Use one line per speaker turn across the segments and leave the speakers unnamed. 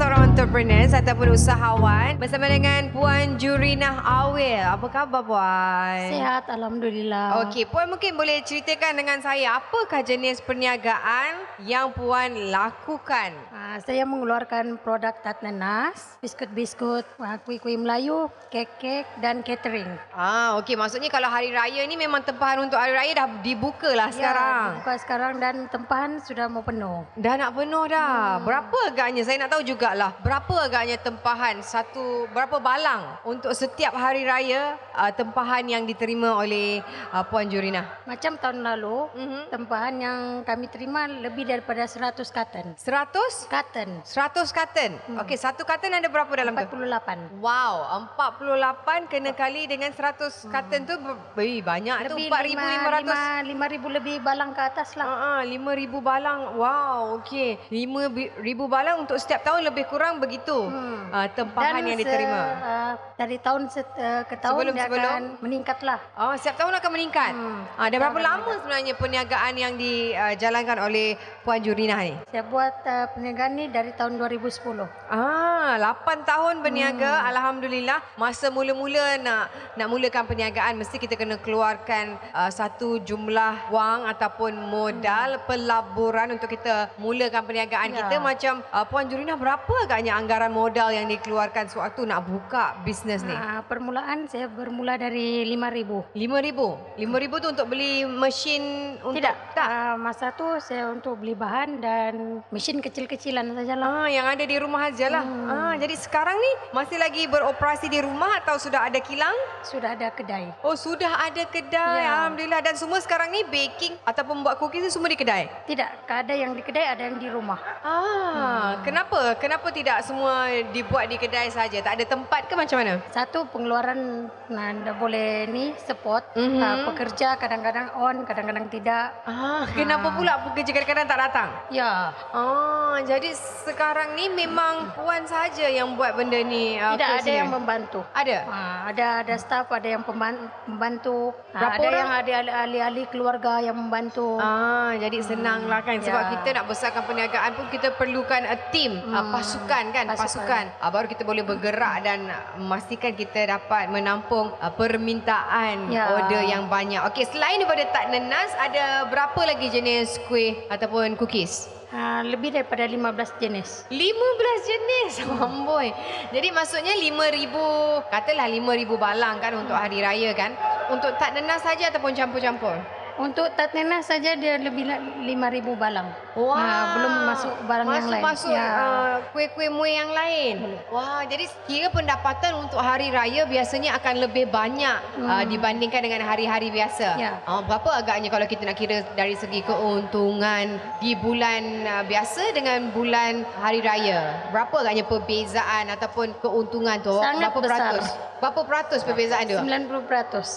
entrepreneurs ataupun usahawan bersama dengan Puan Jurinah Awil. Apa khabar Puan?
Sehat Alhamdulillah.
Okey, Puan mungkin boleh ceritakan dengan saya apakah jenis perniagaan yang Puan lakukan?
Ah, saya mengeluarkan produk tat nanas, biskut-biskut, ah, kuih-kuih Melayu, kek-kek dan catering.
Ah, okey. Maksudnya kalau Hari Raya ni memang tempahan untuk Hari Raya dah dibuka lah
Ya,
sekarang.
buka sekarang dan tempahan sudah mau penuh.
Dah nak penuh
Ah.
dah. Hmm. Berapa agaknya? Saya nak tahu jugalah. Berapa agaknya tempahan satu berapa balang untuk setiap hari raya uh, tempahan yang diterima oleh uh, puan Jurina?
Macam tahun lalu,
Mhm.
tempahan yang kami terima lebih daripada 100 katen.
100?
Katen
100 katen. Hmm. Okey, satu katen ada berapa dalam tu?
48.
Wow, 48 kena kali dengan 100 katen tu ber- eh, banyak tu 4500
Hmm. lima- lima ribu lebih balang ke atas lah.
Ah, lima ribu balang. Wow, okey. Lima bi- ribu balang untuk setiap tahun lebih kurang begitu. Hmm.
Hmm.
Uh, tempahan yang diterima.
Se, ah, dari tahun set, ah, ke tahun
Sebelum-
dia
sebelum?
akan meningkat lah.
Oh, setiap tahun akan meningkat. Hmm.
Hmm.
Ah, dah berapa lama sebenarnya perniagaan yang dijalankan oleh Puan Jurina ni?
Saya buat ah, perniagaan ni dari tahun 2010.
Ah, 8 tahun berniaga. Hmm. Alhamdulillah. Masa mula-mula nak nak mulakan perniagaan mesti kita kena keluarkan uh, satu jumlah wang ataupun modal hmm. pelaburan untuk kita mulakan perniagaan ya.
Ya.
kita macam uh, puan Jurina berapa agaknya anggaran modal yang dikeluarkan sewaktu nak buka bisnes ni?
Ah, permulaan saya bermula dari 5000.
5000. 5000 tu untuk beli mesin untuk
Tidak.
tak.
Ah, masa tu saya untuk beli bahan dan mesin kecil-kecilan saja lah.
Ah, yang ada di rumah aja lah. Hmm. Ah, jadi sekarang ni masih lagi beroperasi di rumah atau sudah ada kilang?
Sudah ada kedai.
Oh sudah ada kedai
Ya.
Alhamdulillah Dan semua sekarang ni baking Ataupun buat cookies ni semua di kedai
Tidak, ada yang di kedai, ada yang di rumah.
Ah, hmm. Kenapa? Kenapa tidak semua dibuat di kedai saja? Tak ada tempat ke macam mana?
Satu pengeluaran nah, dah boleh ni support
Mhm.
Ah, pekerja kadang-kadang on, kadang-kadang tidak.
Ah, kenapa pula pekerja kadang-kadang tak datang?
Ya,
Ah, jadi sekarang ni memang puan saja yang buat benda ni. ah,
tidak ada
khususnya.
yang membantu.
ada.
Ah, ada ada staf, ada yang pemban- membantu. Ah,
Berapa
ada
orang?
yang ada ahli- ahli-ahli keluarga yang membantu.
Ah, jadi senang lah kan sebab
ya.
kita nak besarkan perniagaan pun kita perlukan a team, ah, pasukan kan, pasukan.
Hmm, pasukan.
Ah, baru kita boleh bergerak dan ah, memastikan kita dapat menampung ah, permintaan
Ya.
order yang banyak. Okey, selain daripada tak nenas, ada berapa lagi jenis kuih ataupun cookies?
Ah, lebih daripada 15 jenis.
15 jenis Amboi Jadi maksudnya 5,000 Katalah 5,000 balang kan Untuk hari raya kan Untuk tak nenas saja Ataupun campur-campur
Untuk Tatnena saja dia lebih la- 5000 balang.
Wah,
Ah, belum masuk barang yang lain.
Masuk
Ya. Hmm.
uh, kuih-kuih muih yang lain. Wah, jadi kira pendapatan untuk hari raya biasanya akan lebih banyak uh, dibandingkan dengan hari-hari biasa.
Hmm. Ya.
Uh, berapa agaknya kalau kita nak kira dari segi keuntungan di bulan uh, biasa dengan bulan hari raya? Berapa agaknya perbezaan ataupun keuntungan tu?
Sangat
berapa
besar.
peratus? Berapa peratus perbezaan dia?
90%.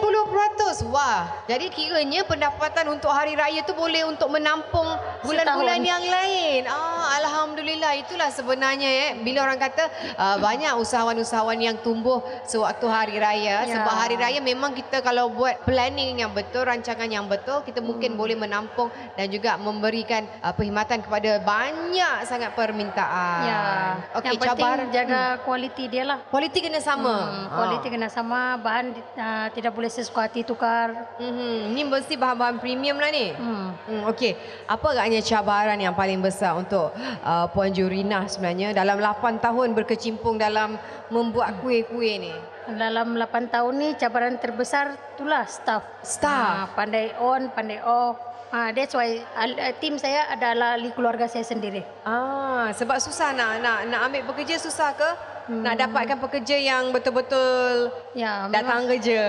90%. Wah. Jadi kiranya pendapatan untuk hari raya tu boleh untuk menampung bulan-bulan
Setahun.
yang lain. Ah, alhamdulillah itulah sebenarnya eh bila orang kata uh, banyak usahawan-usahawan yang tumbuh sewaktu hari raya
Ya.
sebab hari raya memang kita kalau buat planning yang betul, rancangan yang betul,
Hmm.
kita mungkin boleh menampung dan juga memberikan uh, perkhidmatan kepada banyak sangat permintaan.
Ya.
Ah. Okey,
yang penting
cabaran
jaga kualiti dia lah.
kualiti kena sama. Ah.
Hmm, kualiti kena sama, bahan di- ah, tidak boleh sesuka hati tukar.
Mm-hmm. Ni mesti bahan-bahan premium lah ni.
Hmm.
Hmm, Okey, apa agaknya cabaran yang paling besar untuk uh, Puan Jurina sebenarnya dalam 8 tahun berkecimpung dalam membuat kuih-kuih ni?
Dalam 8 tahun ni cabaran terbesar itulah staff.
Staff.
Ah, pandai on, pandai off. Ah, that's why al- ah, tim saya adalah ahli keluarga saya sendiri.
Ah, sebab susah nak nak nak ambil pekerja susah ke? Hmm. Nak dapatkan pekerja yang betul-betul
Ya, memang-
datang kerja.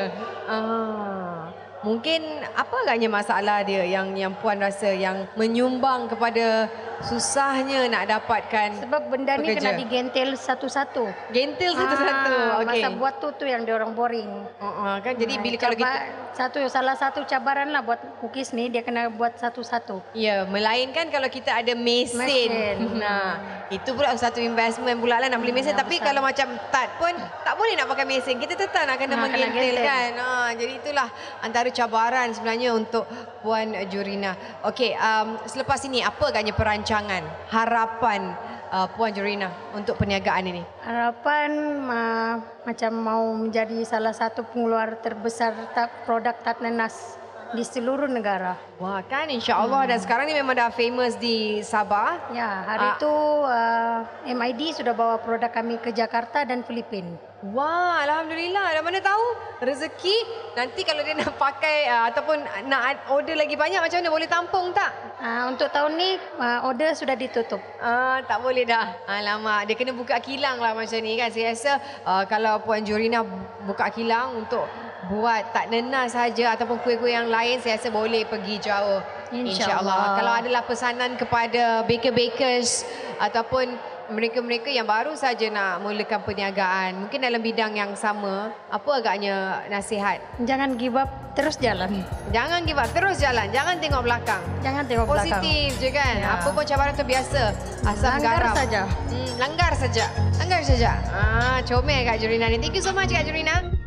Ah. Mungkin apa agaknya masalah dia yang yang puan rasa yang menyumbang kepada susahnya nak dapatkan
sebab benda ni
Pekerja.
kena digentel satu-satu.
gentil satu-satu.
Ah,
Okey.
Masa buat tu tu yang dia orang boring.
Uh, kan jadi
Ah,
bila kalau kita
cabar- satu salah satu cabaran lah buat cookies ni dia kena buat satu-satu.
Ya, melainkan kalau kita ada mesin.
Mesin.
Nah, itu pula satu investment pula lah nak beli mesin. Tapi kalau macam tat pun tak boleh nak pakai mesin. Kita tetap nak kena
Ha, kena
menggentil
gentil.
kan. Ha, jadi itulah antara cabaran sebenarnya untuk Puan Jurina. Okey, um, selepas ini apa agaknya perancangan, harapan uh, Puan Jerina untuk perniagaan ini?
Harapan ma- macam mau menjadi salah satu pengeluar terbesar ta- produk Tatnan Nas di seluruh negara.
Wah kan insyaAllah hmm. dan sekarang ni memang dah famous di Sabah.
Ya, hari
Ah.
itu uh, MID sudah bawa produk kami ke Jakarta dan Filipin.
Wah Alhamdulillah dah mana tahu rezeki nanti kalau dia nak pakai uh, ataupun nak ad- order lagi banyak macam mana boleh tampung tak?
Uh, untuk tahun ni uh, order sudah ditutup.
Ah, tak boleh dah. Alamak, dia kena buka kilang lah macam ni kan. Saya rasa uh, kalau Puan Jurina buka kilang untuk buat tak nenas saja ataupun kuih-kuih yang lain, saya rasa boleh pergi jauh.
Insya
InsyaAllah.
Allah.
Kalau adalah pesanan kepada baker-bakers ataupun mereka-mereka yang baru saja nak mulakan perniagaan, mungkin dalam bidang yang sama, apa agaknya nasihat?
Jangan give up, terus jalan.
Jangan give up, terus jalan. Jangan tengok belakang.
Jangan tengok belakang.
Positif je kan.
Ya.
Apa pun cabaran tu biasa. Asam
Langgar
garam.
saja.
Hmm, langgar saja. Langgar saja. Ah, comel Kak Jurina ni. Thank you so much Kak Jurina.